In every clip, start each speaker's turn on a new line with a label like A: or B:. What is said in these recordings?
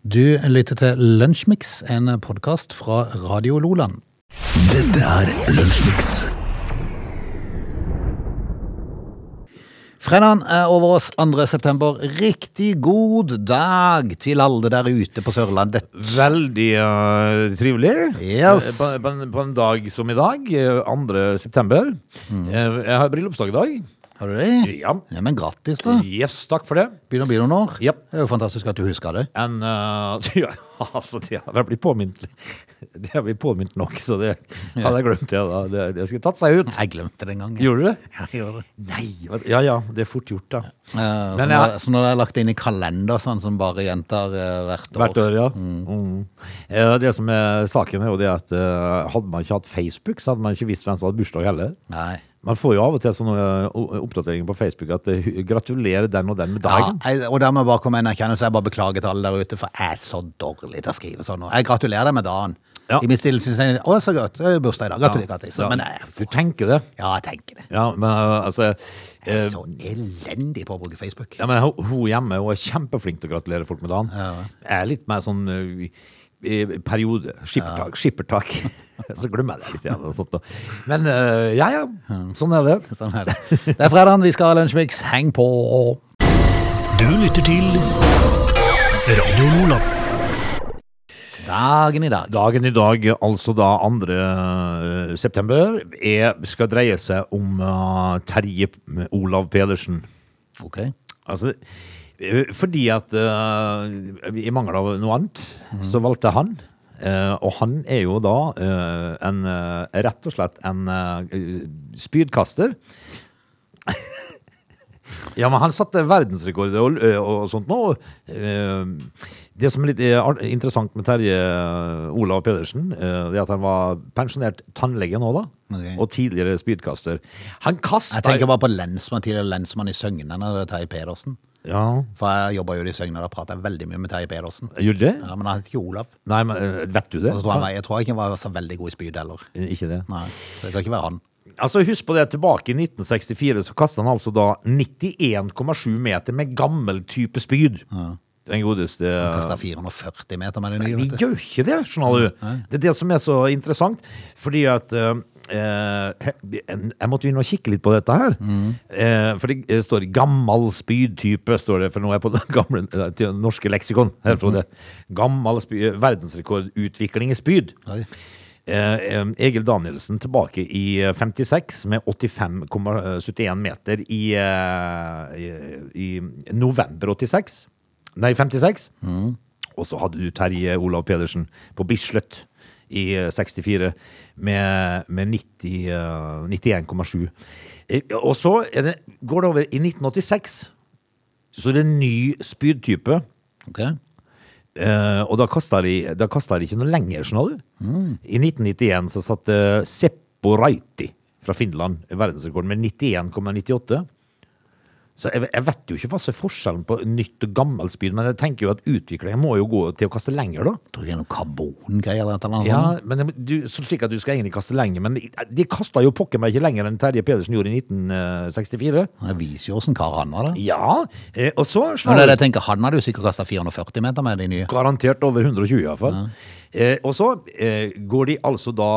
A: Du lytter til Lunsjmix, en podkast fra Radio Loland.
B: Dette er Lunsjmix.
A: Fredagen er over oss 2. september. Riktig god dag til alle der ute på Sørlandet.
C: Veldig eh, trivelig.
A: Yes.
C: Eh, På, på, en, på en dag som i dag, eh, 2. september. Eh, Jeg har bryllupsdag i dag.
A: Har du det?
C: Ja.
A: Ja, men gratis, da.
C: Yes, takk for det.
A: Begynner å bli noen år.
C: Japp.
A: Det er jo fantastisk at du husker det.
C: En, eh, ja, altså, det har jeg blitt påminnet Det har blitt påminnet nok, så det hadde jeg glemt. Det, da. det, det skulle tatt seg ut.
A: Jeg glemte det en gang. jeg.
C: Gjorde du det?
A: Ja, jeg gjorde det.
C: Nei! hva- Ja ja, det er fort gjort, da.
A: Eh, så,
C: Men
A: når,
C: jeg-
A: så når det er lagt inn i kalender, sånn som bare gjentar eh, hvert år
C: Hvert år, ja. Mm. Eh, Det som er saken, er jo det at eh, hadde man ikke hatt Facebook, så hadde man ikke visst hvem som hadde bursdag heller.
A: Nei.
C: Man får jo av og til sånne ø, o- oppdateringer på Facebook at eh, hu- gratulerer den og den med
A: Ja,
C: dagen.
A: jeg, og der må jeg bare komme med en erkjennelse. Jeg bare beklager til alle der ute, for jeg er så dårlig til å skrive sånn. nå. Jeg gratulerer deg med dagen.
C: Ja.
A: I mitt stille sinn sier jeg å, så godt, det er jo bursdag i dag. Gratulerer, gratis.
C: Ja.
A: Men eh, jeg,
C: Du tenker det.
A: ja, jeg tenker det.
C: Ja, men ø, altså
A: Jeg er
C: eh,
A: sånn elendig på å bruke Facebook.
C: ja, men hun hun hjemme hun er kjempeflink til å gratulere folk med dagen. Jeg er litt mer sånn ø, i- i periode. Skippertak. skippertak. Så glemmer jeg det litt. igjen og sånt, da. Men ø, ja, ja. Sånn er det.
A: Sånn er det. Det er fredagen, vi skal ha Lunsjmix. Heng på!
B: Du lytter til Radio Lola.
A: Dagen i dag.
C: Dagen i dag, altså da 2. september, er, skal dreie seg om ø, Terje Olav Pedersen.
A: Ok.
C: Altså, eh, fordi at eh, i mangel av noe annet, så
A: Mm.
C: valgte han. eh, og han er jo da eh, en, eh, rett og slett en eh, spydkaster. ja, men han satte verdensrekord og, og sånt nå. Eh, det som er litt eh, ar- interessant med Terje Olav Pedersen, eh, det er at han var pensjonert tannlege nå, da.
A: Ok.
C: Og tidligere spydkaster. Han kasta
A: Jeg tenker bare på lensmann, tidligere lensmann i Søgne, når det er Terje Pedersen.
C: Ja,
A: For jeg jobba jo i Søgne, og da prata jeg veldig mye med Terje Pedersen.
C: gjorde det?
A: Ja, men han het ikke Olav.
C: Nei, men eh, vet du det?
A: Og så tror jeg, han- jeg tror ikke han Altså, var så veldig god i spyd heller.
C: Eh, Ikke det.
A: Nei, så det kan ikke være han.
C: Altså, husk på det, tilbake i 1964 så kastet han altså da 91,7 meter med gammel type spyd. Den godeste
A: Kasta 440 meter med det nye.
C: Vi
A: vet du.
C: gjør ikke det, skjønner du. Det er det som er så interessant, fordi at eh, eh, jeg måtte inn og kikke litt på dette her.
A: Mm.
C: Eh, for det eh, står 'gammal spydtype', står det, for nå er jeg på den gamle eh, til norske leksikon. Her står det
A: Mhm.
C: 'gammal spyd', verdensrekordutvikling i spyd.
A: Oi.
C: Eh, eh, Egil Danielsen tilbake i eh, 56 med 85,71 meter i, eh, i, i november 86. Nei, 56. Og så hadde du Terje Olav Pedersen på Bislett i eh, 64 med, med 90, eh, 91,7. Eh, Og så er det, går det over i 1986. Så er det en ny spydtype.
A: Ok.
C: Eh, og da kasta de, da kastet de ikke noe lenger, skjønner du. I 1991 så satt eh, Seppo Raiti fra Finland verdensrekord med 91,98. Så jeg, jeg vet jo ikke hva som er forskjellen på nytt og gammelt spyd, men jeg tenker jo at utviklingen må jo gå til å kaste lenger, da.
A: Tror du det er noe karbongreier eller et eller annet?
C: Ja,
A: sånt?
C: men det- du, så slik at du skal egentlig kaste lenger, men de, de kasta jo pokker meg ikke lenger enn Terje Pedersen gjorde i eh, 1964.
A: Det viser jo åssen kar han var, da.
C: Ja, eh, og så
A: Men det er
C: skjønner du-
A: det jeg tenker, Han hadde jo sikkert kasta 440 meter med de nye.
C: Garantert over 120 i hvert fall. Eh, og så eh, går de altså da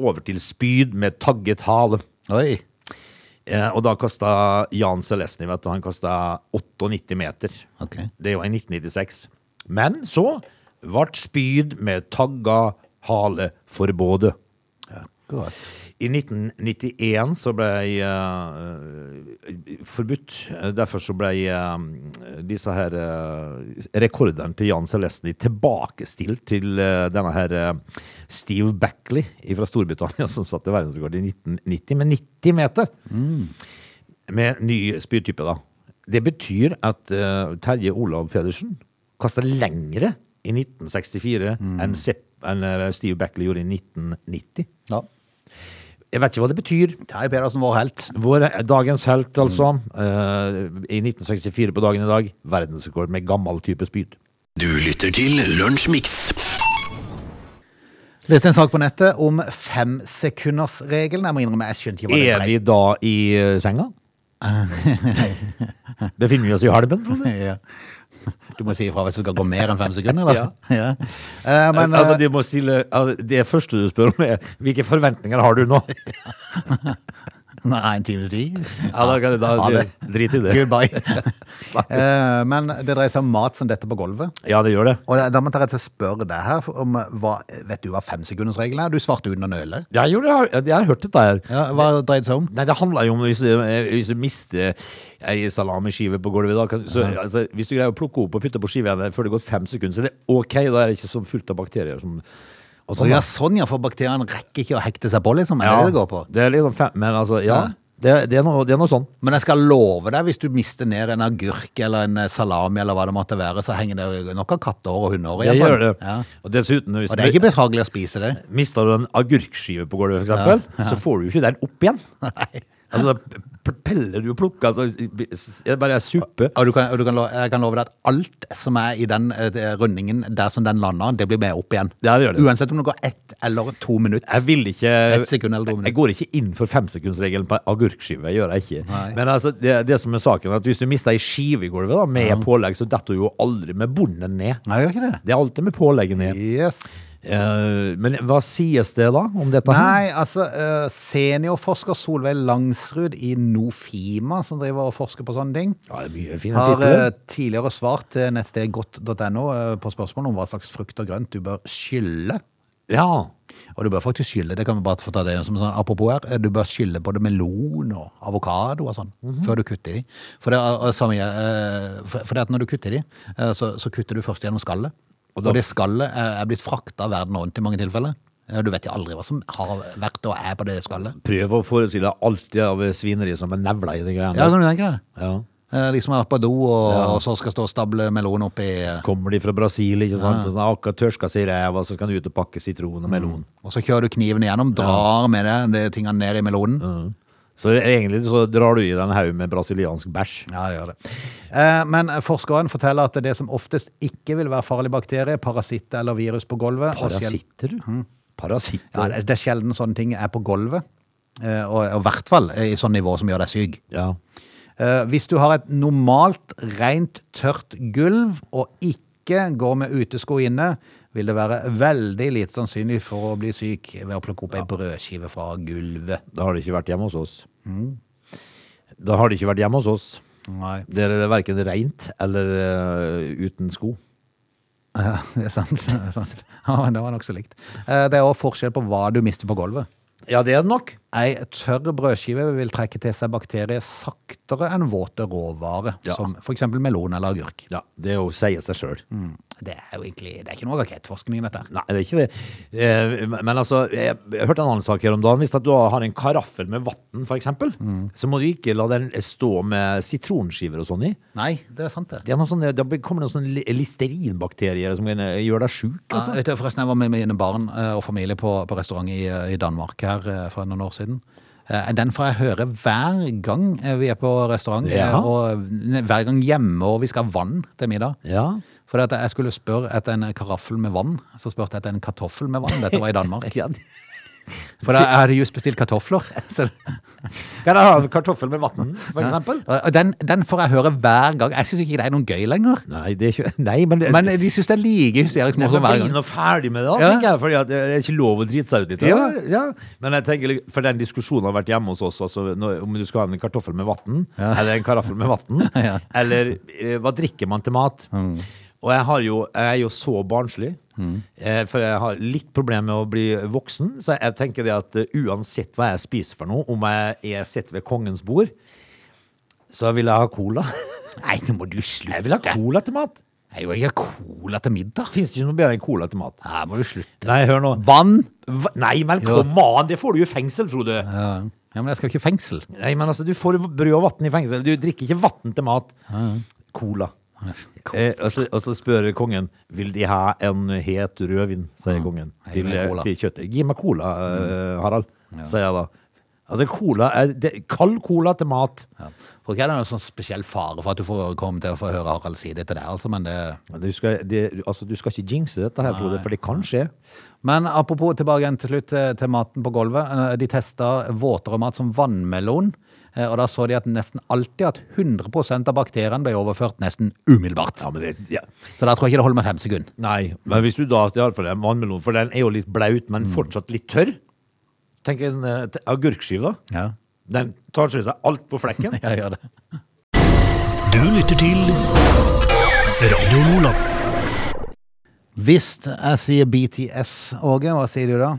C: over til spyd med tagget hale.
A: Oi.
C: Eh, og da kasta Jan Celestny, vet du, han kasta 98 meter.
A: Ok.
C: Det var i 1996. Men så ble spyd med tagga hale forbudt.
A: Godt.
C: I 1991 så ble eh, forbudt. Derfor så ble eh, disse her eh, rekordene til Jan Celestny tilbakestilt til eh, denne her eh, Steve Backley fra Storbritannia som satt i verdensrekord i 1990 med 90 meter. Med ny spydtype, da. Det betyr at eh, Terje Olav Pedersen kasta lengre i 1964 enn, Sepp, enn eh, Steve Backley gjorde i 1990.
A: Ja.
C: Jeg vet ikke hva det betyr.
A: Terje Pedersen, vår helt.
C: Vår dagens helt, altså. eh, I 1964 på dagen i dag. Verdensrekord med gammel type spyd.
B: Du lytter til Lunsjmix.
A: Leste en sak på nettet om femsekundersregelen. Jeg må innrømme, jeg skjønte ikke hva det
C: Er
A: dreide
C: vi da i eh, senga? Befinner vi oss i halmen? Frode?
A: Ja. Du må si ifra hvis det skal gå mer enn fem sekunder, eller? Ja. Eh, men,
C: altså,
A: eh,
C: de må stille, altså, det første du spør om, er hvilke forventninger har du nå?
A: eh, Nei, en times tid.
C: Ja, da, kan jeg- da,
A: Ha det.
C: Drit i det.
A: Goodbye.
C: Snakkes.
A: Eh, men det dreier seg om mat som dette på gulvet.
C: Ja, det gjør det.
A: Og da- da må jeg rett og slett spørre deg her om eh, hva Vet du hva femsekundersregelen er? Du svarte uten å nøle.
C: Jeg, gjorde, jeg, har, jeg har hørt dette her.
A: Ja, hva dreide det seg om?
C: Nei, det handler jo om hvis, du- eh, hvis du mister ei salamiskive på gulvet da, kan, så, altså, Hvis du greier å plukke opp og putte på skiva igjen før det går fem sekunder, så er det ok. Da er det ikke så fullt av bakterier som
A: Å
C: og sånn, da.
A: ja, sånn ja, for bakteriene rekker ikke å hekte seg på, liksom. Er det det det går på?
C: det er liksom fem, men altså, ja.
A: Ja.
C: Det, det, er noe, det er noe sånn.
A: Men jeg skal love deg, hvis du mister ned en agurk eller en eh, salami eller hva det måtte være, så henger det nok av kattehår og hundehår
C: Det
A: igjen. på
C: gjør
A: den.
C: det.
A: Ja.
C: Og dessuten, hvis
A: Og det er
C: du
A: ikke behagelig å spise det.
C: mister du en agurkskive på gulvet, f.eks., eksempel, så får du jo ikke den opp igjen. Altså, da p- peller du og plukker altså, Det er bare suppe.
A: Og, du kan, og du kan, lo- jeg kan love deg at alt som er i den eh, det- rundingen der som den lander, det blir med opp igjen.
C: Ja, det gjør det.
A: Uansett om det går ett eller to
C: Jeg
A: minutter.
C: vil ikke
A: Et sekund eller to minutter.
C: Jeg går ikke inn for femsekundsregelen på agurkskive. Jeg gjør jeg ikke.
A: Nei.
C: Men altså, det, det som er saken, er at hvis du mister ei skive i gulvet da, med pålegg, så detter du jo aldri med bonden ned.
A: Nei, gjør ikke det.
C: Det er alltid med pålegget ned.
A: Yes.
C: Eh, men hva sies det da om dette? her?
A: Nei, altså eh, seniorforsker Solveig Langsrud i Nofima, som driver og forsker på sånne ting,
C: Ja, det er mye fine
A: har
C: titler.
A: eh, tidligere svart til nettstedgodt.no eh, på spørsmål om hva slags frukt og grønt du bør skylle.
C: Ja.
A: Og du bør faktisk skylle, det kan vi bare få ta det som sånn apropos her, eh, du bør skylle både melon og avokado og sånn,
C: Mhm.
A: før du kutter de. For det, er- og samme, eh, for, for det at når du kutter de, eh, så, så kutter du først gjennom skallet. Og,
C: Og da-
A: det skallet eh, er blitt frakta verden rundt i mange tilfeller. Eh, Du vet jo aldri hva som har vært og er på det skallet.
C: Prøv å forestille deg alt det av svineri som er nevla i de greiene.
A: Ja, kan du tenke deg?
C: Ja.
A: Eh, De som har vært på do og,
C: Ja.
A: og så skal stå og stable melon oppi, eh,
C: Kommer de fra Brasil, ikke sant? Sånn, akkurat tørska seg i ræva, så skal de ut og pakke sitron og melon.
A: og så kjører du kniven igjennom, drar med det, det tingene ned i melonen.
C: Så egentlig så drar du i deg en haug med brasiliansk bæsj.
A: Ja, det gjør det. Eh, Men forskeren forteller at det som oftest ikke vil være farlig bakterie, parasitt eller virus på gulvet og sjel-
C: Parasitter, du. Mm. Parasitter.
A: Ja, det det er sjelden sånne ting er på gulvet. eh, Og og i hvert fall eh, i sånn nivå som gjør deg syk.
C: Ja.
A: Eh, Hvis du har et normalt, rent, tørt gulv og ikke går med utesko inne, vil det være veldig lite sannsynlig for å bli syk ved å plukke opp ei brødskive fra gulvet.
C: Da har de ikke vært hjemme hos oss. Da har de ikke vært hjemme hos oss.
A: Nei,
C: Det er verken rent eller eh, uten sko.
A: det er sant. Det, er sant. Ja, det var nokså likt. Eh, Det er òg forskjell på hva du mister på gulvet.
C: Ja, det er det nok.
A: Ei tørr brødskive vil trekke til seg bakterier saktere enn våte råvarer,
C: Ja.
A: som f.eks. melon eller agurk. Mm.
C: Ja, det er jo å sie seg sjøl.
A: Det er jo egentlig det er ikke noe rakettforskning, dette. her.
C: Nei, det er ikke det. Eh, Men altså, jeg jeg hørte en annen sak her om dagen. Hvis at du har en karaffel med vann, f.eks., eksempel så må du ikke la den stå med sitronskiver og sånn i.
A: Nei, det er sant, det.
C: Det er noe sånn, da kommer det noen sånne li- listerinbakterier som kan gjøre deg sjuk.
A: Ja,
C: Altså.
A: vet du, forresten, jeg var med mine barn eh, og familie på, på restaurant i, eh, i Danmark her eh, for noen år siden. Eh, Den får jeg høre hver gang eh, vi er på restaurant, eh,
C: Ja.
A: og n- hver gang hjemme og vi skal ha vann til middag.
C: Ja.
A: For at jeg skulle spørre etter en karaffel med vann, så spurte jeg etter en kartoffel med vann. Dette var i Danmark.
C: ja. det-
A: For da- jeg hadde just bestilt kartofler. Så
C: Kan jeg ha en kartoffel med vann, for eksempel?
A: Og og Eh, den, den får jeg høre hver gang. Jeg syns ikke det er noe gøy lenger.
C: Nei, det er ikke, nei men, det,
A: Men eh, de syns det er like hysterisk
C: jeg må
A: morsomt hver
C: bli
A: gang.
C: nå ferdig med det, da,
A: Ja.
C: tenker jeg, fordi at det er ikke lov å drite seg ut litt. da.
A: Ja.
C: Men jeg tenker, litt- for den diskusjonen har vært hjemme hos oss, altså, når, om du skal ha en kartoffel med vann, eller en karaffel med vann,
A: Ja.
C: eller eh, hva drikker man til mat? Og jeg, har jo, jeg er jo så barnslig, eh, for jeg har litt problem med å bli voksen, så jeg tenker det at eh, uansett hva jeg spiser for noe, om jeg er sett ved kongens bord, så vil jeg ha cola.
A: Nei, nå må du
C: Jeg vil ha
A: slutte.
C: cola til mat.
A: Jeg vil ikke ha cola til middag.
C: Finnes det ikke noe bedre enn cola til mat?
A: Her må du slutte.
C: Nei, hør nå.
A: Vann?
C: Hva? Nei, men
A: Jo.
C: kom an, det får du jo i fengsel, Frode.
A: Ja, ja, men jeg skal jo ikke i fengsel.
C: Nei, men altså, du får jo brød og vann i fengsel. Du drikker ikke vann til mat. Cola. Eh, og, så, og så spør kongen Vil de ha en het rødvin, sier kongen
A: Gi
C: til,
A: meg cola.
C: Mm. til kjøttet. Gi meg cola, eh, Harald, eh, sier jeg da. Altså, cola er, det, kald cola til mat.
A: Ja. Tror ikke det er noen sånn spesiell fare for at du får komme til å få høre Harald si dette der, altså, men det
C: Du skal, det, altså, du skal ikke jinxe dette her, Frode, for det kan skje.
A: Men apropos tilbake igjen til slutt eh, til maten på gulvet. Eh, De testa våtere mat som vannmelon. eh, Og da så de at nesten alltid at 100 av bakteriene ble overført nesten umiddelbart.
C: Ja, men det, ja.
A: Så da tror jeg ikke det holder med fem sekunder.
C: Nei, men hvis du da i alle fall er vannmelon, for den er jo litt blaut, men
A: Mm.
C: fortsatt litt tørr. Tenk en eh, te- agurkskive.
A: Ja,
C: Den tar til seg alt på flekken.
A: jeg gjør det.
B: Du lytter til Radio Nordland.
A: Hvis jeg sier BTS, Åge, hva sier du da?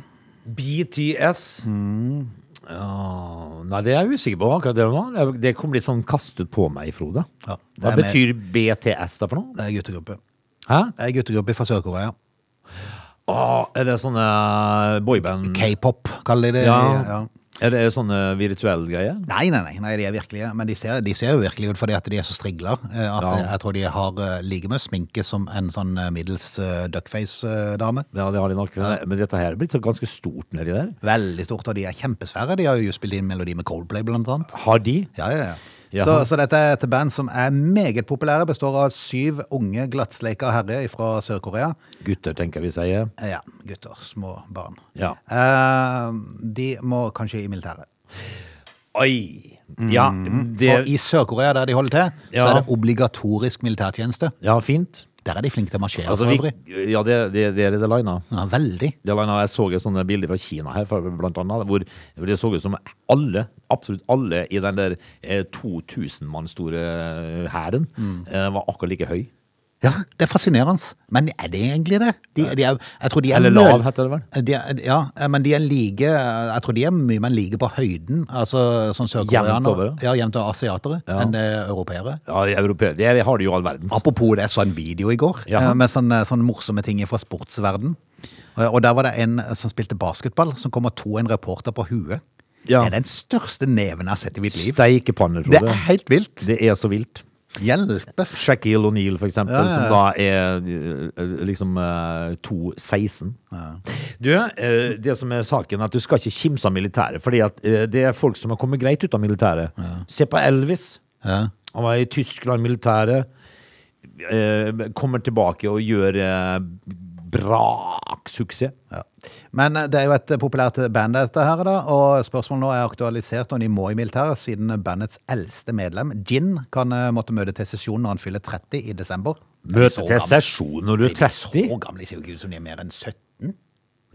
C: BTS. Mm. Ja, nei, det er jeg usikker på akkurat det nå. Det- Det kom litt sånn kastet på meg, Frode.
A: Ja, det
C: Hva
A: er med-
C: betyr BTS da for noe?
A: Det er guttegruppe.
C: Hæ?
A: Det er guttegruppe fra Sør-Korea.
C: Åh, er det sånne eh, boyband?
A: K-pop, kaller de det.
C: Ja.
A: Ja.
C: Er det sånne virtuelle greier?
A: Nei, nei, nei, nei, de er virkelige. Men de ser, de ser jo virkelige ut fordi at de er så strigler. eh, At
C: Ja.
A: eh, Jeg tror de har eh, like mye sminke som en sånn eh, middels eh, duckface-dame.
C: Ja, det har de nok. Men dette her er blitt ganske stort nedi der.
A: Veldig stort, og de er kjempesvære. De har jo spilt inn melodi med Coldplay, blant annet.
C: Har de?
A: Ja, ja, ja. Så,
C: Jaha.
A: så dette er et band som er meget populære, består av syv unge glattsleika herrer fra Sør-Korea.
C: Gutter, tenker jeg vi sier.
A: Eh, Ja, gutter, små barn.
C: Ja.
A: Eh, de må kanskje i militæret.
C: Oi! Ja,
A: Mm. For
C: det
A: i Sør-Korea, der de holder til, så
C: Ja.
A: er det obligatorisk militærtjeneste.
C: Ja, fint.
A: Der er de flinke til å marsjere,
C: Altså,
A: for øvrig.
C: vi, ja, det, det, det er det lina.
A: Ja, veldig.
C: Det var en, jeg så et sånt bilde fra Kina her, for- blant annet, hvor hvor det så ut som alle, absolutt alle i den der eh, 2000 mann store hæren
A: Mm.
C: eh, var akkurat like høy.
A: Ja, det er fascinerende. Men er det egentlig det? De, de er, jeg tror de er
C: Eller
A: møl-
C: lav, heter det vel?
A: De er, ja, eh, men de er like Jeg tror de er mye mer like på høyden, altså sånn
C: Jevnt over,
A: sørkoreanere ja, jevnt over asiatere, enn det er europeere.
C: Ja, europeere. Det har de jo all verdens.
A: Apropos det, jeg så en video i går
C: Jaha.
A: eh, med sånne, sånne morsomme ting fra sportsverden. Eh, Og der var det en som spilte basketball, som kom og to en reporter på huet.
C: Ja.
A: Det er den største neven jeg har sett i mitt liv.
C: Steikepanner,
A: Det
C: tror
A: er
C: jeg.
A: helt vilt.
C: Det er så vilt.
A: Hjelpes.
C: Shaquille O'Neal, for eksempel,
A: Ja, ja, ja.
C: som da er eh, liksom eh, 2,16. Du, eh, det som er saken, er at du skal ikke kimse av militæret, fordi at eh, det er folk som har kommet greit ut av militæret. Se på Elvis.
A: Ja.
C: Han var i Tyskland, militæret. Eh, kommer tilbake og gjør eh, braksuksess.
A: Ja. Men eh, det er jo et eh, populært band dette her, da, og spørsmålet nå er aktualisert, og de må i militæret, siden bandets eldste medlem, Gin, kan eh, måtte møte til sesjon når han fyller 30 i desember.
C: Møte til sesjon når du er
A: De
C: 30?
A: så gamle de ser jo ikke ut som de er mer enn 17.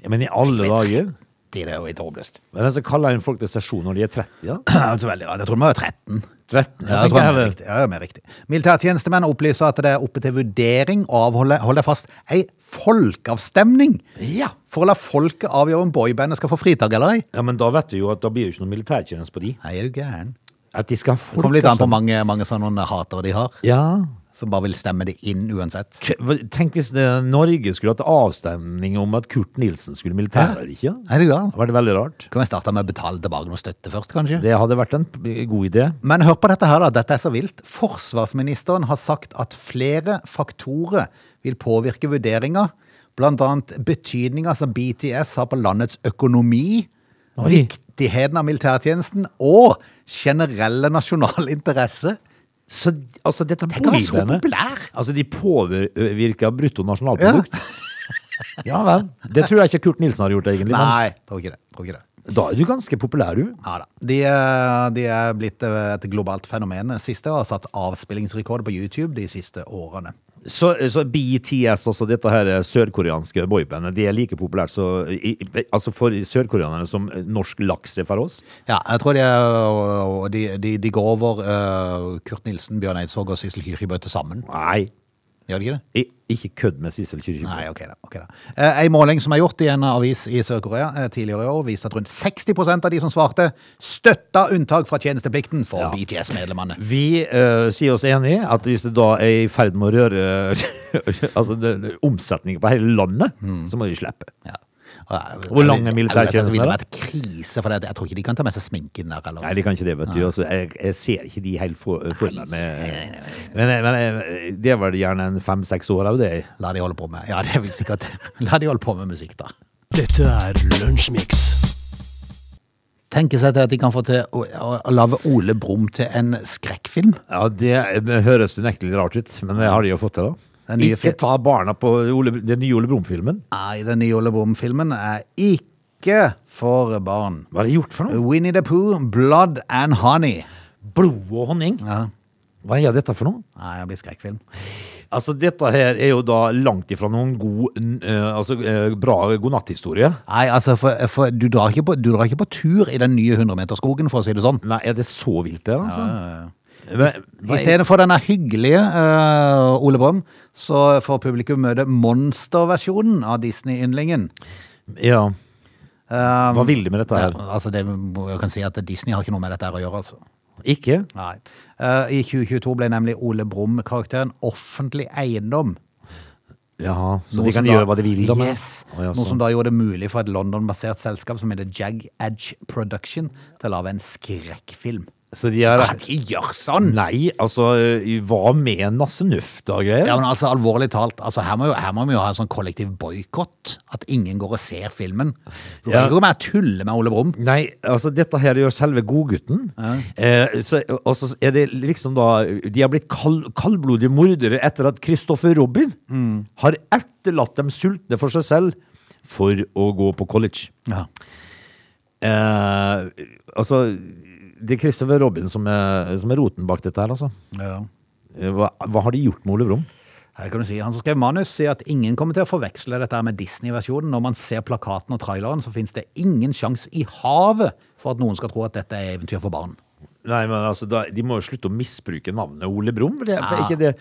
C: Ja, men i alle dager?
A: Det er jo helt håpløst.
C: Hvem er det som kaller en folk til sesjon når de er 30? da?
A: Altså, veldig rart. Jeg tror de var 13.
C: 13? Jeg
A: Ja, jeg
C: tenker
A: tror det er
C: heller-
A: riktig. Ja, det er mer riktig. Militærtjenestemenn opplyser at det er oppe til vurdering å avholde hold deg fast, ei folkeavstemning
C: Ja.
A: for å la folket avgjøre om boybandet skal få fritak eller ei.
C: Ja, men da vet du jo at da blir jo ikke noe militærtjeneste på de.
A: Nei, er du gæren?
C: At de skal ha
A: Det
C: folk
A: kommer litt an på
C: altså.
A: mange, mange sånne hatere de har,
C: Ja.
A: som bare vil stemme det inn uansett.
C: K- hva- Tenk hvis det, Norge skulle hatt avstemning om at Kurt Nilsen skulle militære eller ikke.
A: Er det galt?
C: Det var det veldig rart.
A: Kan vi starte med å betale tilbake noe støtte først, kanskje?
C: Det hadde vært en p- god idé.
A: Men hør på dette her, da. Dette er så vilt. Forsvarsministeren har sagt at flere faktorer vil påvirke vurderinga, blant annet betydninga som BTS har på landets økonomi,
C: Oi.
A: viktigheten av militærtjenesten og generelle nasjonal interesse.
C: Så d- altså, dette
A: Tenk å være så
C: boligbandet-
A: populær.
C: Altså, de påvirker bruttonasjonalprodukt. Ja. vel. Det tror jeg ikke Kurt Nilsen har gjort, egentlig. Men
A: Nei, tror ikke det. Tror ikke det.
C: da er du ganske populær, du.
A: Ja da. De, eh, de er blitt eh, et globalt fenomen det siste og har satt avspillingsrekord på YouTube de siste årene.
C: Så, så BTS, altså dette her sørkoreanske boybandet, de er like populært så, i, i- altså for sørkoreanerne som eh, norsk laks er for oss.
A: Ja, jeg tror de, er, og- og de, de, de går over eh, Kurt Nilsen, Bjørn Eidsvåg og Sissel Kyrkjebø til sammen.
C: Nei,
A: Gjør de ikke det?
C: i- ikke kødd med Sissel Kyrkjebø.
A: Nei, ok da. ok da. Eh, en måling som er gjort i en avis i Sør-Korea eh, tidligere i år, viser at rundt 60 av de som svarte, støtta unntak fra tjenesteplikten for
C: Ja.
A: BTS-medlemmene.
C: Vi eh, sier oss enig i at hvis det da er i ferd med å røre altså, det- det- omsetningen på hele landet, så må de slippe.
A: Ja. Og jeg-
C: Hvor lang
A: jeg-
C: er
A: jeg-
C: militærtjenesten
A: Det ville
C: da?
A: vært krise, for det- jeg tror ikke de kan ta med seg sminken der. Eller.
C: Nei, de kan ikke det, vet du. Altså, jeg, jeg ser ikke de helt for, for meg. Med, men, men eh, det var det gjerne en fem-seks år av det.
A: La de holde på med Ja, det er vel sikkert La de holde på med musikk, da.
B: Dette er Lunsjmix.
A: tenker seg til at de kan få til å, å, å lage Ole Brumm til en skrekkfilm.
C: Ja, Det høres unektelig rart ut, men det har de jo fått til, da.
A: Den nye fil-
C: Ikke ta barna på Ole, den nye Ole Brumm-filmen.
A: Nei, den nye Ole Brumm-filmen er ikke for barn.
C: Hva er det gjort for noe?
A: Winnie the Pooh, Blood and Honey.
C: Blod og honning?
A: Ja.
C: Hva er dette for noe?
A: Nei, det blir skrekkfilm.
C: Altså, dette her er jo da langt ifra noen god, n- eh, altså, eh, bra godnatthistorie.
A: Nei, altså, for, for du, drar ikke på, du drar ikke på tur i den nye 100-meterskogen, for å si det sånn.
C: Nei, er det så vilt det, altså? Men- hva
A: I
C: er-
A: stedet for denne hyggelige eh, Ole Brumm, så får publikum møte monsterversjonen av Disney-yndlingen.
C: Ja,
A: Eh,
C: hva vil de med dette her?
A: Ja, altså det må jeg kan si at Disney har ikke noe med dette her å gjøre, altså.
C: Ikke?
A: Nei. Eh, I 2022 ble nemlig Ole Brumm-karakteren offentlig eiendom.
C: Jaha, så
A: Noe
C: de kan
A: som
C: gjøre hva de vil da med?
A: Yes.
C: Å, ja,
A: Noe
C: sånn.
A: som da gjorde det mulig for et London-basert selskap som heter Jag Edge Production til å lage en skrekkfilm.
C: Så de er
A: Kan ikke gjøre sånn!
C: Nei, altså, eh, hva med Nasse Nuff da, greier?
A: Ja, men altså, alvorlig talt, altså, her, må jo, her må vi jo ha en sånn kollektiv boikott. At ingen går og ser filmen. Du kan
C: Ja.
A: ikke gå med og tulle med Ole Brumm.
C: Nei, altså dette her gjør selve godgutten. Eh, så, og så er det liksom da De har blitt kald, kaldblodige mordere etter at Christopher Robin
A: Mm.
C: har etterlatt dem sultne for seg selv for å gå på college.
A: Ja.
C: Eh, altså Det er Christopher Robin som er, som er roten bak dette her, altså.
A: Ja.
C: Eh, Hva, hva har de gjort med Ole Brumm?
A: Her kan du si, Han som skrev manus, sier at ingen kommer til å forveksle dette her med Disney-versjonen. Når man ser plakaten og traileren, så fins det ingen sjanse i havet for at noen skal tro at dette er eventyr for barn.
C: Nei, men altså, da, De må jo slutte å misbruke navnet Ole Brumm. for det- for Er
A: Ja.
C: ikke det-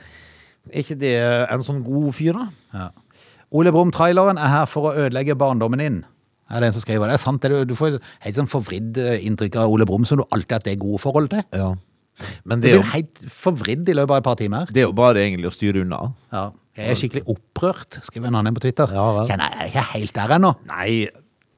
C: er ikke det en sånn god fyr, da?
A: Ja. Ole Brumm-traileren er her for å ødelegge barndommen din. Er det en som skriver det? er sant, det er, du- du får et helt sånn forvridd eh, inntrykk av Ole Brumm, som du alltid har hatt det gode forhold til.
C: Ja. Men
A: Du
C: det er
A: blir
C: jo
A: helt forvridd i løpet av et par timer.
C: Det er jo bare egentlig å styre unna.
A: Ja. Jeg er skikkelig opprørt, skriver en annen på Twitter.
C: Ja, vel.
A: Kjenner jeg er ikke helt der ennå.
C: Nei,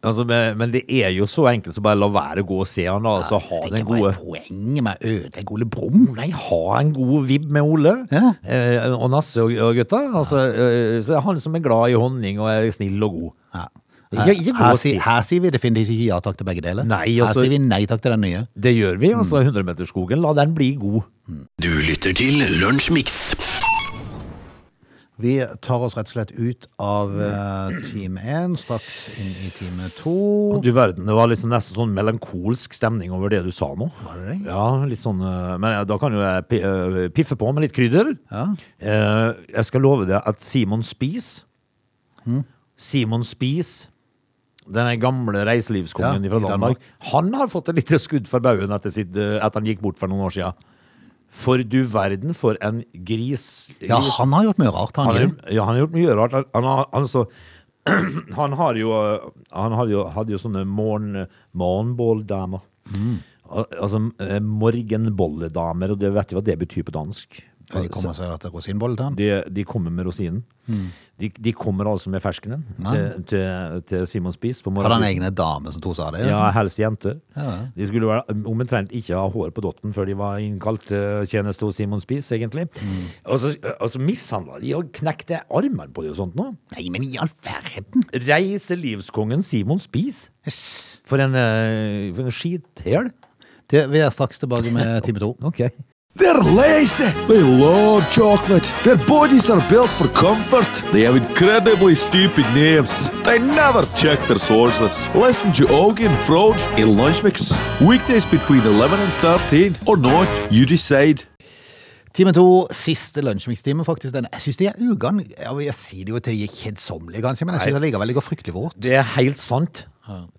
C: altså, men, men det er jo så enkelt så bare la være å gå og se han, da. Altså, ha
A: Det er
C: den
A: ikke bare
C: gode
A: poenget med å ødelegge Ole Brumm.
C: Nei, ha en god vibb med Ole
A: Ja.
C: eh, og Nasse og, og gutta. Altså, eh, så er han som er glad i honning og er snill og god.
A: Ja.
C: Ikke- ikke gå
A: her,
C: og si.
A: sier- her sier vi definitivt ikke ja takk til begge deler.
C: Nei,
A: her
C: altså-
A: sier vi nei takk til den nye.
C: Det gjør vi, altså.
A: Mm.
C: 100-meterskogen, la den bli god.
B: Du lytter til Lunsjmix.
A: Vi tar oss rett og slett ut av eh, time én, straks inn i time to.
C: Du verden, det var liksom nesten sånn melankolsk stemning over det du sa nå.
A: Var det det?
C: Ja, litt sånn eh, Men ja, da kan jo jeg pi- eh, piffe på med litt krydder.
A: Ja.
C: Eh, Jeg skal love deg at Simon Spies
A: Hmm?
C: Simon Spies den gamle reiselivskongen
A: Ja,
C: fra
A: i Danmark.
C: Danmark. Han har fått et lite skudd for baugen etter, sitt, eh, etter han gikk bort for noen år siden. For du verden, for en gris, gris
A: Ja, han har gjort mye rart, han.
C: han har,
A: Jimmy.
C: gjort- ja, han har gjort mye rart. Han, han, har, han, så, han har jo eh, Han hadde jo, hadde jo sånne morgen, morgenbolldamer.
A: Hmm.
C: Al- Altså eh, morgenbolledamer, og du vet jo hva det betyr på dansk.
A: Kan de komme seg til rosinbolle til han?
C: De, de kommer med rosinen.
A: Hmm.
C: De, de kommer altså med ferskenen til, til, til Simon Spies på
A: Hadde han
C: morgenen.
A: egne dame som to sa det?
C: Ja,
A: altså?
C: helst jenter.
A: Ja.
C: De skulle være, omtrent ikke ha hår på dotten før de var innkalt til tjeneste hos Simon Spies, egentlig.
A: Hmm.
C: Og så, og så mishandla de og knekte armene på de og sånt nå.
A: Nei, men i all verden!
C: Reiselivskongen Simon Spies.
A: Yes.
C: For en, eh, for en skithæl.
A: Det, vi er straks tilbake med time to.
C: Ok.
D: They're lazy. They love chocolate. Their bodies are built for comfort. They have incredibly stupid names. They never check their sources. Listen to Augie and Frode in Lunch Mix Weekdays between 11 and 13 or not, you decide.
A: Time to, siste lunsjmikstime, faktisk. Den, jeg syns de er ugan... Ja, Jeg sier det jo til de er kjedsommelige, kanskje, men jeg syns allikevel det går fryktelig fort.
C: Det er helt sant.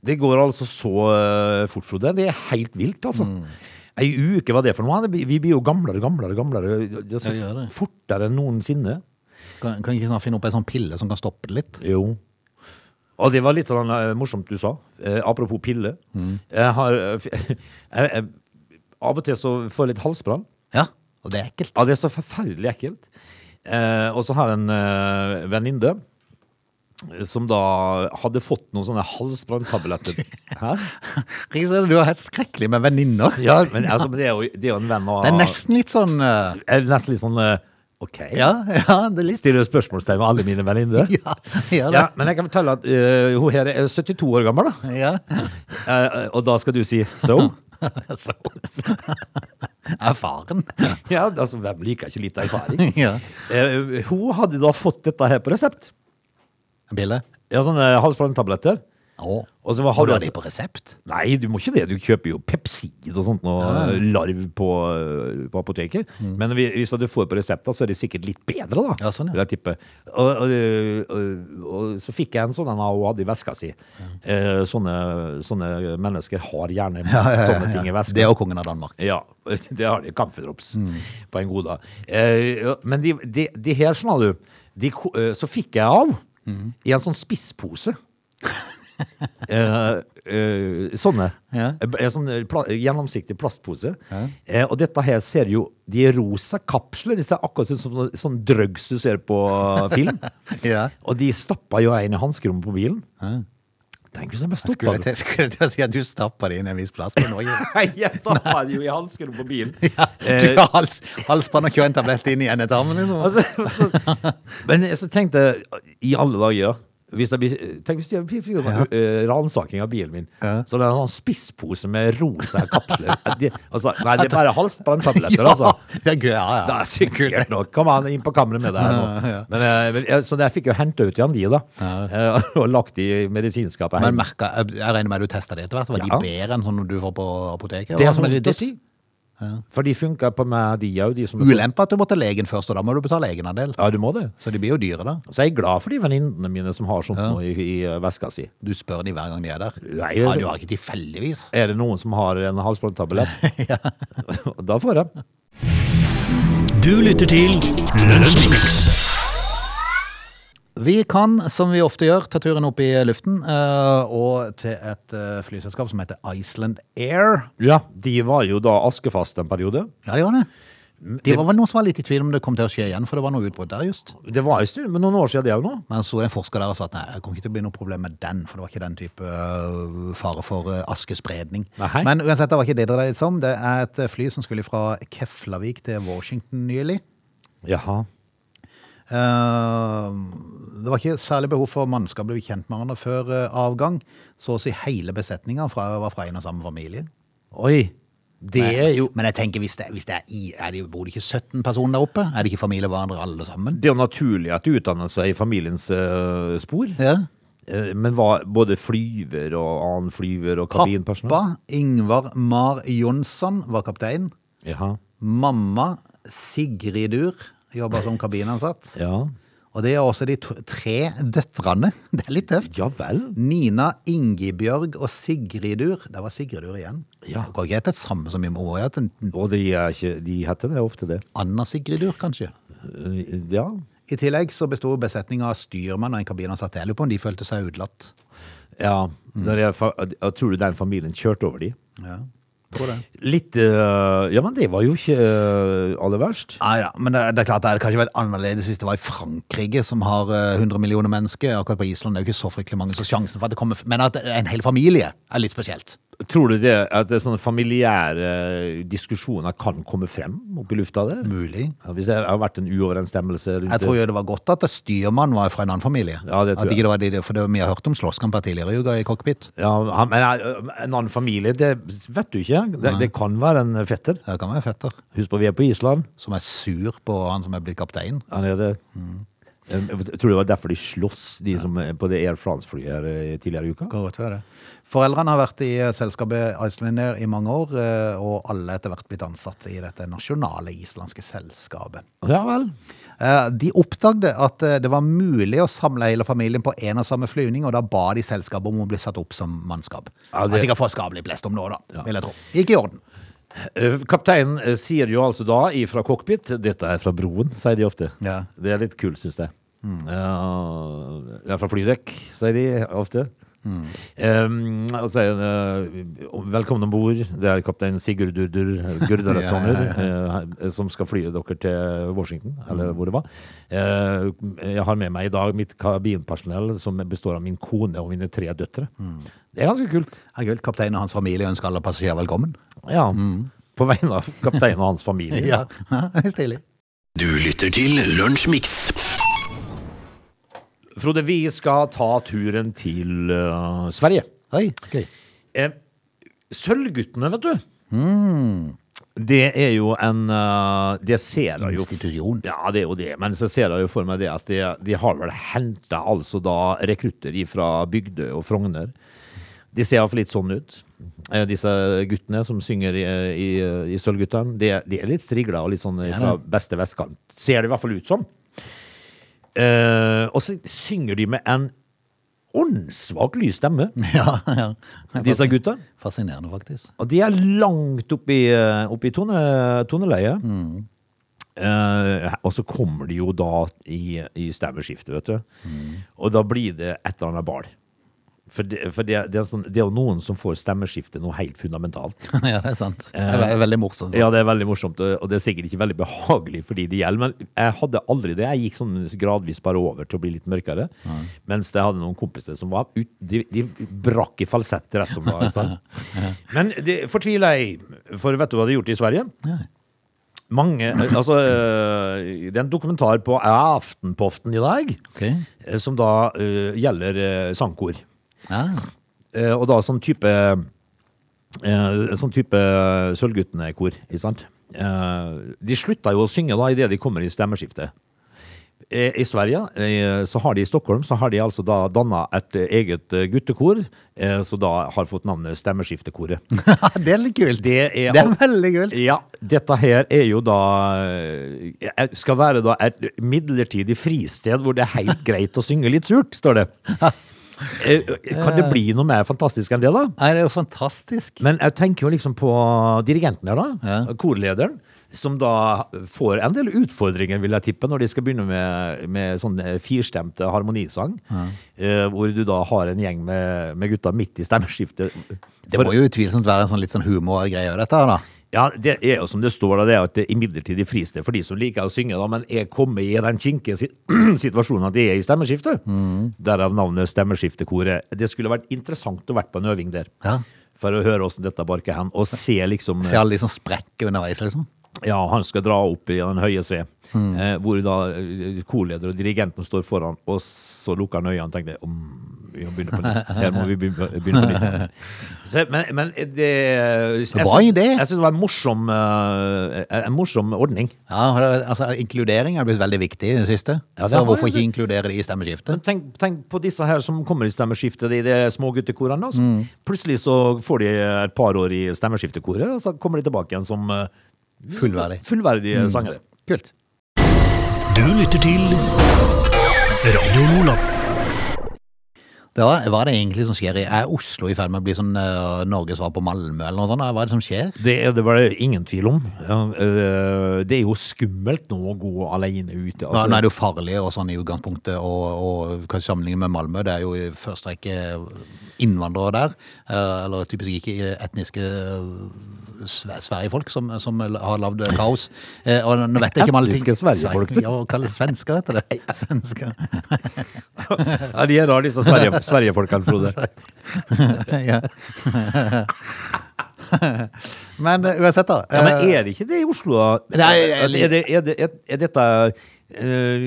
C: Det går altså så eh, fort, Frode. Det er helt vilt, altså. Ei uke var det for noe. Det blir- Vi blir jo gamlere, gamlere, gamlere. Det er så
A: Ja, gjør det.
C: fortere enn noensinne.
A: Kan, kan ikke snart finne opp ei sånn pille som kan stoppe det litt?
C: Jo. Og det var litt sånn, eh, morsomt du sa. Eh, apropos pille. Jeg har eh, f- jeg, jeg, Av og til så får jeg litt halsbrann.
A: Ja, og det er ekkelt.
C: Ja, det er så forferdelig ekkelt. Eh, og så har jeg en eh, venninne eh, som da hadde fått noen sånne halsbranntabletter. Hæ?
A: Riise, du er helt skrekkelig med venninner.
C: Ja, men, altså, men det, er jo, det er jo en venn av
A: Det er nesten litt sånn eh,
C: er nesten litt sånn eh, OK?
A: Ja, ja, det er litt
C: Stiller spørsmålstegn ved alle mine venninner.
A: Ja, ja,
C: Ja,
A: det.
C: men jeg kan fortelle at eh, hun her er 72 år gammel, da.
A: ja.
C: Eh, og da skal du si so?
A: Så. Erfaren.
C: ja, altså, hvem liker ikke litt erfaring?
A: Ja.
C: Eh, hun hadde da fått dette her på resept.
A: Bille.
C: Ja, sånne halsblandtabletter.
A: Å.
C: Og så var-
A: Har du det på resept?
C: Nei, du må ikke det. Du kjøper jo Pepsid og sånt, og larv på, øh, på apoteket. Men vi- hvis du får på resepta, så er det sikkert litt bedre, da.
A: Mm. Ja, sånn, ja.
C: Vil jeg tippe. Og, og, og, og så fikk jeg en sånn en hun hadde i veska si. Eh, sånne, sånne mennesker har gjerne sånne ting i veska.
A: Det er jo kongen av Danmark.
C: Ja, det har de. Kampfedrops
A: Mm.
C: på en god dag. Eh, ja, men de, de, de her, sånn du, de, ko- eh, så fikk jeg av
A: Mm.
C: i en sånn spisspose. eh, eh, sånne.
A: Ja.
C: Eh, En sånn eh, pla gjennomsiktig plastpose. Eh, og dette her ser jo De er rosa kapsler. De ser akkurat ut som sånn, sånn drugs du ser på film.
A: Ja.
C: Og de stappa jo en i hanskerommet på bilen. Tenk hvis jeg ble stoppa.
A: Skulle jeg til- skulle jeg til å si at du stapper det inn en viss plass på Norge?
C: Nei, jeg stappa det jo i hanskerommet på bilen.
A: Ja, du har hals, halsbånd og kjører en tablett inn i endetarmen, liksom.
C: Altså, så, men jeg- så tenkte jeg, i alle dager hvis det blir, Tenk hvis de fikk ja. ransaking av bilen min. Så det er en sånn spisspose med rosa kapsler. De, altså, nei, det er bare halsbranntabletter, altså.
A: det er gøy, ja, ja.
C: Det er sikkert nok. Kom an, inn på kammeret med det her nå. Men, eh, men, jeg- så jeg fikk jo henta ut igjen de, da. Eh, Og lagt de i medisinskapet.
A: Men
C: hjemme.
A: merka, jeg regner med at du testa det etter hvert. Var
C: Ja.
A: de bedre enn sånn du får på apoteket? sånn
C: Det er
A: Hva som
C: vondt å
A: ditt?
C: si. For de funka på meg, de òg. De som
A: Ulempe at du må til legen først, og da må du betale egenandel.
C: Ja, du må det.
A: Så de blir jo dyre, da.
C: Så jeg er glad for de venninnene mine som har sånt nå i, i veska si.
A: Du spør de hver gang de er der.
C: Nei,
A: ja,
C: jeg-
A: du har ikke tilfeldigvis.
C: Er det noen som har en halsbåndtablett? da får jeg.
B: Du lytter til Lunsjmix.
A: Vi kan, som vi ofte gjør, ta turen opp i luften, eh, og til et eh, flyselskap som heter Iceland Air.
C: Ja, de var jo da askefast en periode.
A: Ja, det var det. Det var vel noen som var litt i tvil om det kom til å skje igjen, for det var noe utbrudd der just.
C: Det var en stund, men noen år siden det òg nå.
A: Men så en forsker der og sa at nei, det kommer ikke til å bli noe problem med den, for det var ikke den type øh, fare for øh, askespredning.
C: Nei.
A: Men uansett, det var ikke det det dreide seg om. Det er et fly som skulle fra Keflavik til Washington nylig.
C: Jaha.
A: Eh, Det var ikke særlig behov for mannskap å bli kjent med hverandre før eh, avgang. Så å si hele besetninga fra, var fra en og samme familie.
C: Oi. Det er jo
A: Men jeg tenker, hvis det, hvis det er, i, er det, bor det ikke 17 personer der oppe? Er det ikke familie hverandre alle sammen?
C: det er jo naturlig at de utdanner seg i familiens eh, spor.
A: Ja.
C: Eh, men var både flyver og annen flyver og
A: Pappa
C: kabinpersonell?
A: Ingvar Mar Jonsson var kaptein.
C: Jaha.
A: Mamma Sigridur jobber som kabinansatt.
C: Ja.
A: Og det er også de to, tre døtrene. Det er litt tøft.
C: ja vel.
A: Nina, Ingebjørg og Sigridur. Der var Sigridur igjen.
C: Ja.
A: Det går ikke hete det samme som i morgen. At en
C: Og de, er ikke, de heter det ofte, det.
A: Anna Sigridur, kanskje.
C: Eh, ja.
A: I tillegg så besto besetninga av styrmann og en kabinansatt. Jeg lurer på om de følte seg utelatt.
C: ja. Når jeg, fa- tror du den familien kjørte over de?
A: Ja, tror det.
C: Litt eh, Ja, men det var jo ikke eh, aller verst.
A: Nei da, men det, det er klart det hadde kanskje vært annerledes hvis det var i Frankrike, som har eh, 100 millioner mennesker. Akkurat på Island det er jo ikke så fryktelig mange, så sjansen for at det kommer Men at en hel familie er litt spesielt.
C: Tror du det at det er sånne familiære diskusjoner kan komme frem oppi lufta der?
A: Mulig.
C: Ja, Hvis det har vært en uoverensstemmelse rundt
A: Jeg tror jo det var godt at styrmannen var fra en annen familie.
C: Ja, det tror
A: at ikke det var de, for det, vi har hørt om slåsskamper tidligere i uka i cockpit.
C: Ja, han- men eh, en annen familie, det vet du ikke. Det, det kan være en fetter.
A: Det kan være fetter
C: Husk på, vi er på Island.
A: som er sur på han som er blitt kaptein.
C: Han er det.
A: Mm.
C: Eh, Jeg tror det var derfor de sloss, de som er på det Air France-flyet her eh, tidligere i uka.
A: Går ut over det. Foreldrene har vært i eh, selskapet Icelandair i mange år, eh, og alle etter hvert blitt ansatt i dette nasjonale islandske selskapet.
C: Ja vel.
A: Eh, De oppdagde at eh, det var mulig å samle hele familien på en og samme flyvning, og da ba de selskapet om å bli satt opp som mannskap.
C: Ja, det-
A: det... er sikkert for skapelig blest om nå, da, vil jeg tro. Gikk i orden.
C: Eh, Kapteinen eh, sier jo altså da ifra cockpit Dette er fra broen, sier de ofte.
A: Ja.
C: Det er litt kult, syns jeg. Eh, det er fra flyrekk, sier de ofte. Eh, og sier eh, velkommen om bord. Det er kaptein Sigurd Durdur Gurdarasoner eh, som skal fly dere til Washington, eller hvor det var. Eh, jeg har med meg i dag mitt kabinpersonell, som består av min kone og mine tre døtre. Det er ganske kult.
A: Ja, kult. Kapteinen og hans familie ønsker alle passasjerer velkommen.
C: Ja. På vegne av kapteinen og hans familie.
A: Ja, stilig.
B: Du lytter til Lunsjmix.
C: Frode, vi skal ta turen til eh, Sverige.
A: Oi, gøy.
C: Eh, Sølvguttene, vet du. Mm. Det er jo en eh, Det ser jeg jo
A: Institusjon.
C: Ja, det er jo det. Men så ser jeg jo for meg det at de, de har vel henta altså da rekrutter fra Bygdøy og Frogner. De ser iallfall litt sånn ut. Eh, Disse guttene som synger i, i, i Sølvguttene. De, er- de er litt strigla og litt sånn fra beste vestkant. Ser det i hvert fall ut som. Eh, og så synger de med en åndssvak lys stemme,
A: Ja, ja.
C: disse gutta.
A: Fascinerende, faktisk.
C: Og de er langt oppi, eh, oppi tone, toneleiet. Eh, og så kommer de jo da i, i stemmeskiftet, vet du. Og da blir det et eller annet ball. For, det, for det, det, er sånn, det er jo noen som får stemmeskifte noe helt fundamentalt.
A: ja, det er sant. Det er veldig morsomt.
C: Eh. Ja, det er veldig morsomt, og og det er sikkert ikke veldig behagelig for de det gjelder, men jeg hadde aldri det. Jeg gikk sånn gradvis bare over til å bli litt mørkere, mens jeg hadde noen kompiser som var ut, de, de brakk i falsett rett som det var. i stedet. Men det fortviler jeg, for vet du hva de har gjort i Sverige? Mange, altså, øh, det er en dokumentar på Aftenpoften i dag,
A: Ok.
C: eh, som da øh, gjelder øh, sangkor.
A: Ja.
C: Eh, og da sånn type eh, Sånn type Sølvguttene-kor, ikke sant? Eh, de slutta jo å synge da idet de kommer i stemmeskiftet. Eh, I Sverige, eh, så har de i Stockholm, så har de altså da danna et eh, eget eh, guttekor, eh, som da har fått navnet Stemmeskiftekoret.
A: det er litt kult.
C: Det er,
A: Det er veldig kult.
C: Ja, dette her er jo da eh, jeg Skal være da et midlertidig fristed hvor det er helt greit å synge litt surt, står det. Eh, Kan det bli noe mer fantastisk enn det, da?
A: Nei, det er jo fantastisk.
C: Men jeg tenker jo liksom på dirigenten her, da.
A: Ja.
C: Korlederen. Som da får en del utfordringer, vil jeg tippe, når de skal begynne med, med sånn firstemte harmonisang. Eh, hvor du da har en gjeng med, med gutta midt i stemmeskiftet.
A: Det må jo utvilsomt være en sånn litt sånn humorgreie, dette her, da.
C: Ja, det er jo som det står da, det er at det er imidlertidig fristed for de som liker å synge, da, men er kommet i den kinkige si- situasjonen at de er i stemmeskiftet.
A: Mm.
C: Derav navnet Stemmeskiftekoret. Det skulle vært interessant å vært på en øving der.
A: Ja.
C: For å høre åssen dette barker hen, og se liksom
A: Se alle de som sprekker underveis, liksom.
C: Ja, han skal dra opp i den høye C, eh, hvor da eh, korleder og dirigenten står foran, og så lukker han øynene og tenker om vi må begynne på nytt. Her må vi begynne begynne på nytt. Så, men, men det jeg syns-
A: Bra idé.
C: Jeg syns det var en morsom, eh, en morsom ordning.
A: Ja, og det- altså Inkludering har blitt veldig viktig i det siste.
C: Ja, det
A: så
C: har
A: hvorfor
C: det.
A: ikke inkludere de i stemmeskiftet?
C: Men tenk, tenk på disse her som kommer i stemmeskiftet i de små guttekorene. Altså. Plutselig så får de et par år i stemmeskiftekoret, og så kommer de tilbake igjen som eh,
A: Fullverdig.
C: fullverdige sangere.
A: Kult.
B: Du lytter til Radio Lola.
A: Da, hva er det egentlig som skjer i Er Oslo i ferd med å bli sånn eh, Norges svar på Malmö, eller noe sånt? da? Hva er det som skjer?
C: Det er det vel ingen tvil om. Ja, eh, Det er jo skummelt nå å gå alene ute.
A: Nå,
C: altså.
A: nå er det jo farlig og sånn i utgangspunktet, og, og kanskje sammenlignet med Malmö. Det er jo i første rekke innvandrere der, eh, eller typisk ikke etniske eh, sve- Sverigefolk som, som har lagd kaos. Eh, Og nå vet jeg ikke om alle ting.
C: Etniske Sverigefolk.
A: Ja, hva kalles svensker, heter det. Svensker.
C: Ja, de er rare, disse Sverige, Sverigefolkene, Frode.
A: ja. Men eh, uansett, da.
C: Ja, men
A: eh,
C: er det ikke det i Oslo? da?
A: Nei, jeg-
C: altså, er, det, er, det, er, er dette eh,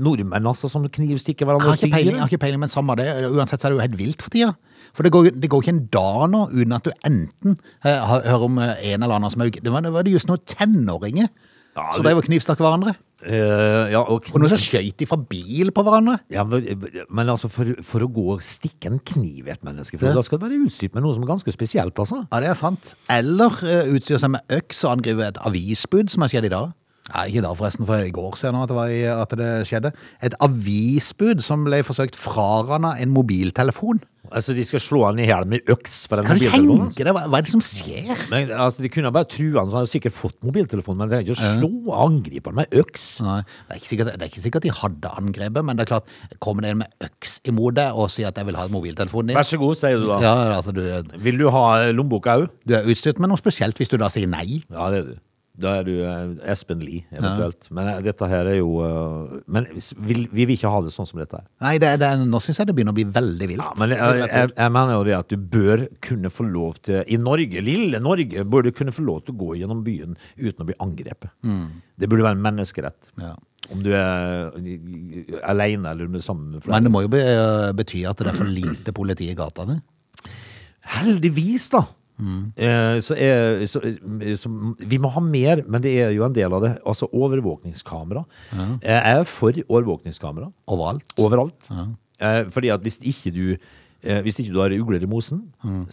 C: nordmenn altså, som knivstikker
A: jeg
C: hverandre?
A: har ikke peiling, jeg har ikke peiling, men samme det. Uansett så er det jo helt vilt for tida. For det går, det går ikke en dag nå uten at du enten eh, har- hører om eh, en eller annen som er Det var, det var det just noen tenåringer
C: Ja,
A: som
C: det-
A: drev og knivstakk hverandre.
C: Eh, ja, og
A: Og
C: kniv,
A: noen som skøyt ifra bil på hverandre.
C: ja, men, men altså, for, for å gå og stikke en kniv i et menneske, Frode, da skal du være utstyrt med noe som er ganske spesielt, altså.
A: Ja, det er sant. Eller uh, utstyre seg med øks og angripe et avisbud, som har skjedd i dag. Nei, ikke i dag forresten, for i går ser jeg nå at det, var i, at det skjedde. Et avisbud som ble forsøkt frarana en mobiltelefon.
C: Altså, de skal slå han i hjel med øks for en
A: Kan du
C: mobiltelefon. altså.
A: tenke deg, hva, hva er det som skjer?
C: Men altså, De kunne bare true han, så han hadde sikkert fått mobiltelefonen. Men det er ikke å slå angriperen med øks.
A: Nei, det, er ikke sikkert, det er ikke sikkert de hadde angrepet, men det er klart, kommer det en med øks imot deg og sier at jeg vil ha mobiltelefonen din?
C: Vær så god, sier du da.
A: Ja, altså, du,
C: Vil du ha eh, lommeboka òg?
A: du er utstyrt med noe spesielt hvis du da sier nei.
C: Ja, det er du. Da er du eh, Espen Lie, eventuelt. Men eh, dette her er jo eh, Men s- vil, vi vil ikke ha det sånn som dette her.
A: Nei, det, er- det, er- nå syns jeg det begynner å bli veldig vilt.
C: Ja, men eh, jeg, jeg, jeg mener jo det at du bør kunne få lov til I Norge, lille Norge, bør du kunne få lov til å gå gjennom byen uten å bli angrepet. Det burde være en menneskerett.
A: Ja.
C: Om du er eh, alene eller om du er sammen med
A: Men
C: flere.
A: det må jo be, bety at det er for lite politi i gatene.
C: Heldigvis, da! Eh, Så er, så, eh, så, vi må ha mer, men det er jo en del av det. Altså overvåkningskamera. Eh, Jeg er for overvåkningskamera.
A: Overalt.
C: Overalt. Eh, Fordi at hvis ikke du eh, Hvis ikke du har ugler i mosen,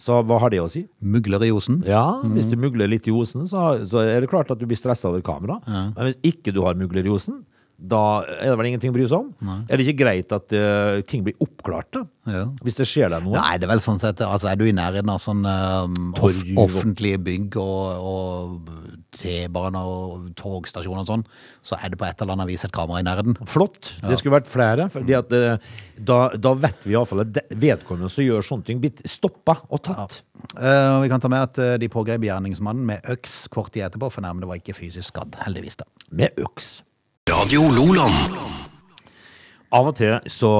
C: så hva har det å si?
A: Mugler i osen.
C: Ja, hvis du mugler litt i osen, så, så er det klart at du blir stressa over kamera. Men hvis ikke du har mugler i osen, da er det vel ingenting å bry seg om? Er det ikke greit at eh, ting blir oppklart, da?
A: Ja.
C: Hvis det skjer deg noe?
A: Nei, det er vel sånn sett altså Er du i nærheten av sånn um, off
C: Torg og-
A: offentlige bygg og, og T-baner og togstasjoner og sånn, så er det på et eller annet vis et kamera i nærheten.
C: Flott. Det skulle vært flere. Fordi at, eh, da, da vet vi iallfall at de- vedkommende som gjør sånne ting, blir stoppa og tatt.
A: Eh, og vi kan ta med at eh, de pågrep gjerningsmannen med øks kort tid etterpå, for nærmere var ikke fysisk skadd, heldigvis. da.
C: Med øks.
B: Radio Loland.
C: Av og til så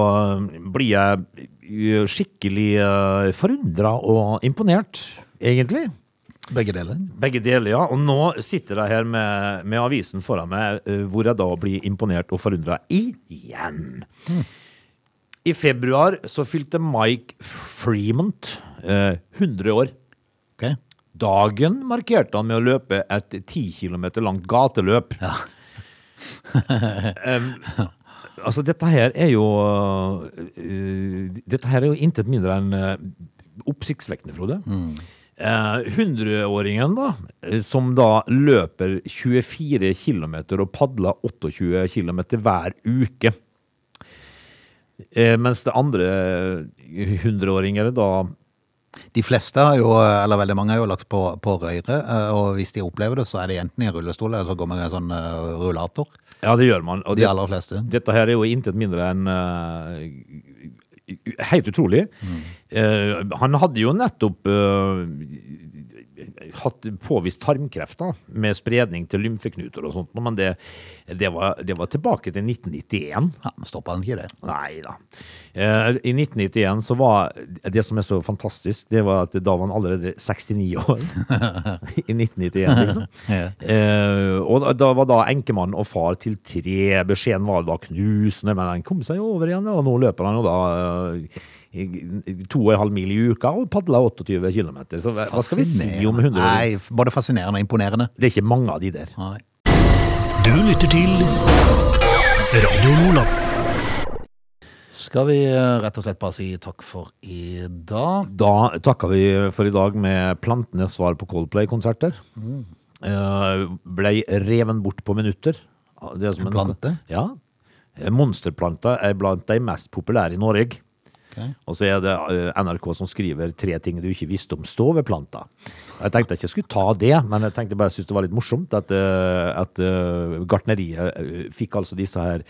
C: blir jeg eh, skikkelig forundra og imponert, egentlig.
A: Begge deler.
C: Begge deler, ja. Og nå sitter jeg her med, med avisen foran meg, eh, hvor jeg da blir imponert og forundra igjen. I februar så fylte Mike Fremont eh, 100 år.
A: Ok.
C: Dagen markerte han med å løpe et 10 km langt gateløp. Em, altså, dette her er jo eh, Dette her er jo intet mindre enn eh, oppsiktsvekkende, Frode. Eh, 100-åringen, da, eh, som da løper 24 km og padler 28 km hver uke. Eh, mens det andre 100-åringer da
A: De fleste har jo, eller veldig mange har jo lagt på, på røret, eh, og hvis de opplever det, så er det enten i en rullestol eller så går man med en sånn eh, rullator.
C: Ja, det gjør man. Og
A: De
C: det,
A: aller fleste.
C: Dette her er jo intet mindre enn eh, Helt utrolig. Eh, han hadde jo nettopp eh, hatt påvist tarmkreft da, med spredning til lymfeknuter og sånt, men det, det, var, det var tilbake til 1991.
A: Ja, men Stopper han ikke det?
C: Nei da. Eh, I 1991 så var det som er så fantastisk, det var at da var han allerede 69 år. I 1991, liksom.
A: Ja.
C: Eh, og da- da var da enkemann og far til tre. Beskjeden var da knusende, men han kom seg over igjen, og nå løper han jo da eh, i- i- to og en halv mil i uka og padler 28 km. Så hva hva skal vi si om 100 år?
A: Nei, både fascinerende og imponerende.
C: Det er ikke mange av de der.
A: Nei.
B: Du lytter til Radio Loland.
A: Skal vi eh, rett og slett bare si takk for i dag?
C: Da takker vi for i dag med plantenes svar på Coldplay-konserter. Eh, Blei reven bort på minutter. Det er som
A: En plante?
C: Ja. Eh, Monsterplanta er blant de mest populære i Norge.
A: Ok.
C: Og så er det eh, NRK som skriver tre ting du ikke visste om stoveplanta. Jeg tenkte jeg ikke skulle ta det, men jeg tenkte bare jeg syntes det var litt morsomt at, eh, at eh, gartneriet eh, fikk altså disse her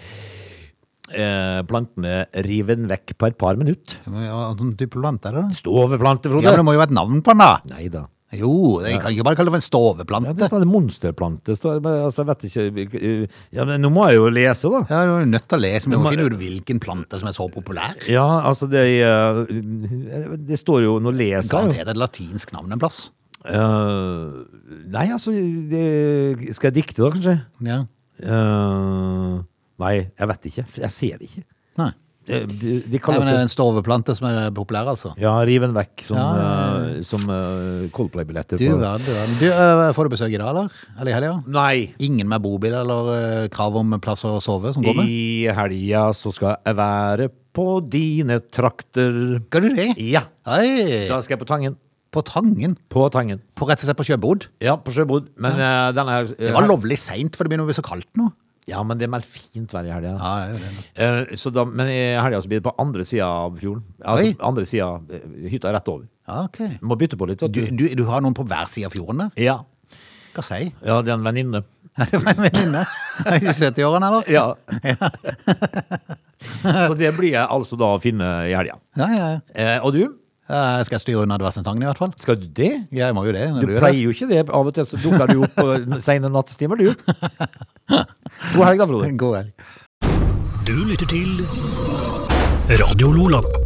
C: eh, plantene riven vekk på et par minutter.
A: Det må jo være en sånn type plante, er det det?
C: Stoveplante, Frode!
A: Ja, men det må jo være et navn på den, da!
C: Nei da.
A: Jo, jeg kan ikke bare kalle det for en
C: Ja, det
A: stoveplante.
C: står det monsterplante. står det, men altså, jeg vet ikke eh, Ja, men nå må jeg jo lese, da.
A: Ja, Du er jo nødt til å lese, men du må
C: Det må-
A: finne ut hvilken plante som er så populær.
C: Ja, altså, det eh, Det står jo Nå leser jeg jo.
A: Garantert et latinsk navn en plass.
C: Eh, nei, altså det, Skal jeg dikte, da, kanskje?
A: Ja.
C: Eh, nei, jeg vet ikke. Jeg ser det ikke.
A: Nei.
C: Det, det, de
A: Nei,
C: kaller
A: men det er
C: seg
A: en stoveplante som er populær, altså.
C: Ja, riv den vekk, som,
A: Ja, ja,
C: eh, som eh, Coldplay-billetter.
A: Du
C: på-
A: verden, du verden. Du, øh, får du besøk i dag, eller? Eller i helga?
C: Nei!
A: Ingen med bobil eller øh, krav om plass å sove som kommer?
C: I helga så skal jeg være på dine trakter.
A: Skal du det?
C: Ja!
A: Hei!
C: Da skal jeg på Tangen.
A: På Tangen?
C: På Tangen.
A: På rett og slett på Sjøbod?
C: Ja, på Sjøbod. Men eh, denne her
A: Det var lovlig seint, for det begynner å bli så kaldt nå.
C: Ja, men det er mer fint vær i helga.
A: Ja, det er jo det.
C: Eh, så da, men i helga så blir det på andre sida av fjorden.
A: Oi.
C: Altså andre sida eh, Hytta er rett over.
A: Ja, ok.
C: Må bytte på litt. vet
A: Du, du, du har noen på hver side av fjorden der?
C: Ja.
A: Hva sier
C: ja, det er en venninne.
A: Det var en venninne. Er du I 70-årene, eller?
C: Ja. så det blir jeg altså da å finne i helga.
A: Ja, ja, ja.
C: Eh, og du?
A: Eh, skal jeg styre unna advarselstangen i hvert fall?
C: Skal du det?
A: Jeg må jo det. når
C: Du
A: du gjør
C: pleier jo ikke det. Av og til så dukker du opp på sene nattestimer, du. God helg, da, Frode.
A: det. God helg.
B: Du lytter til Radio Lola.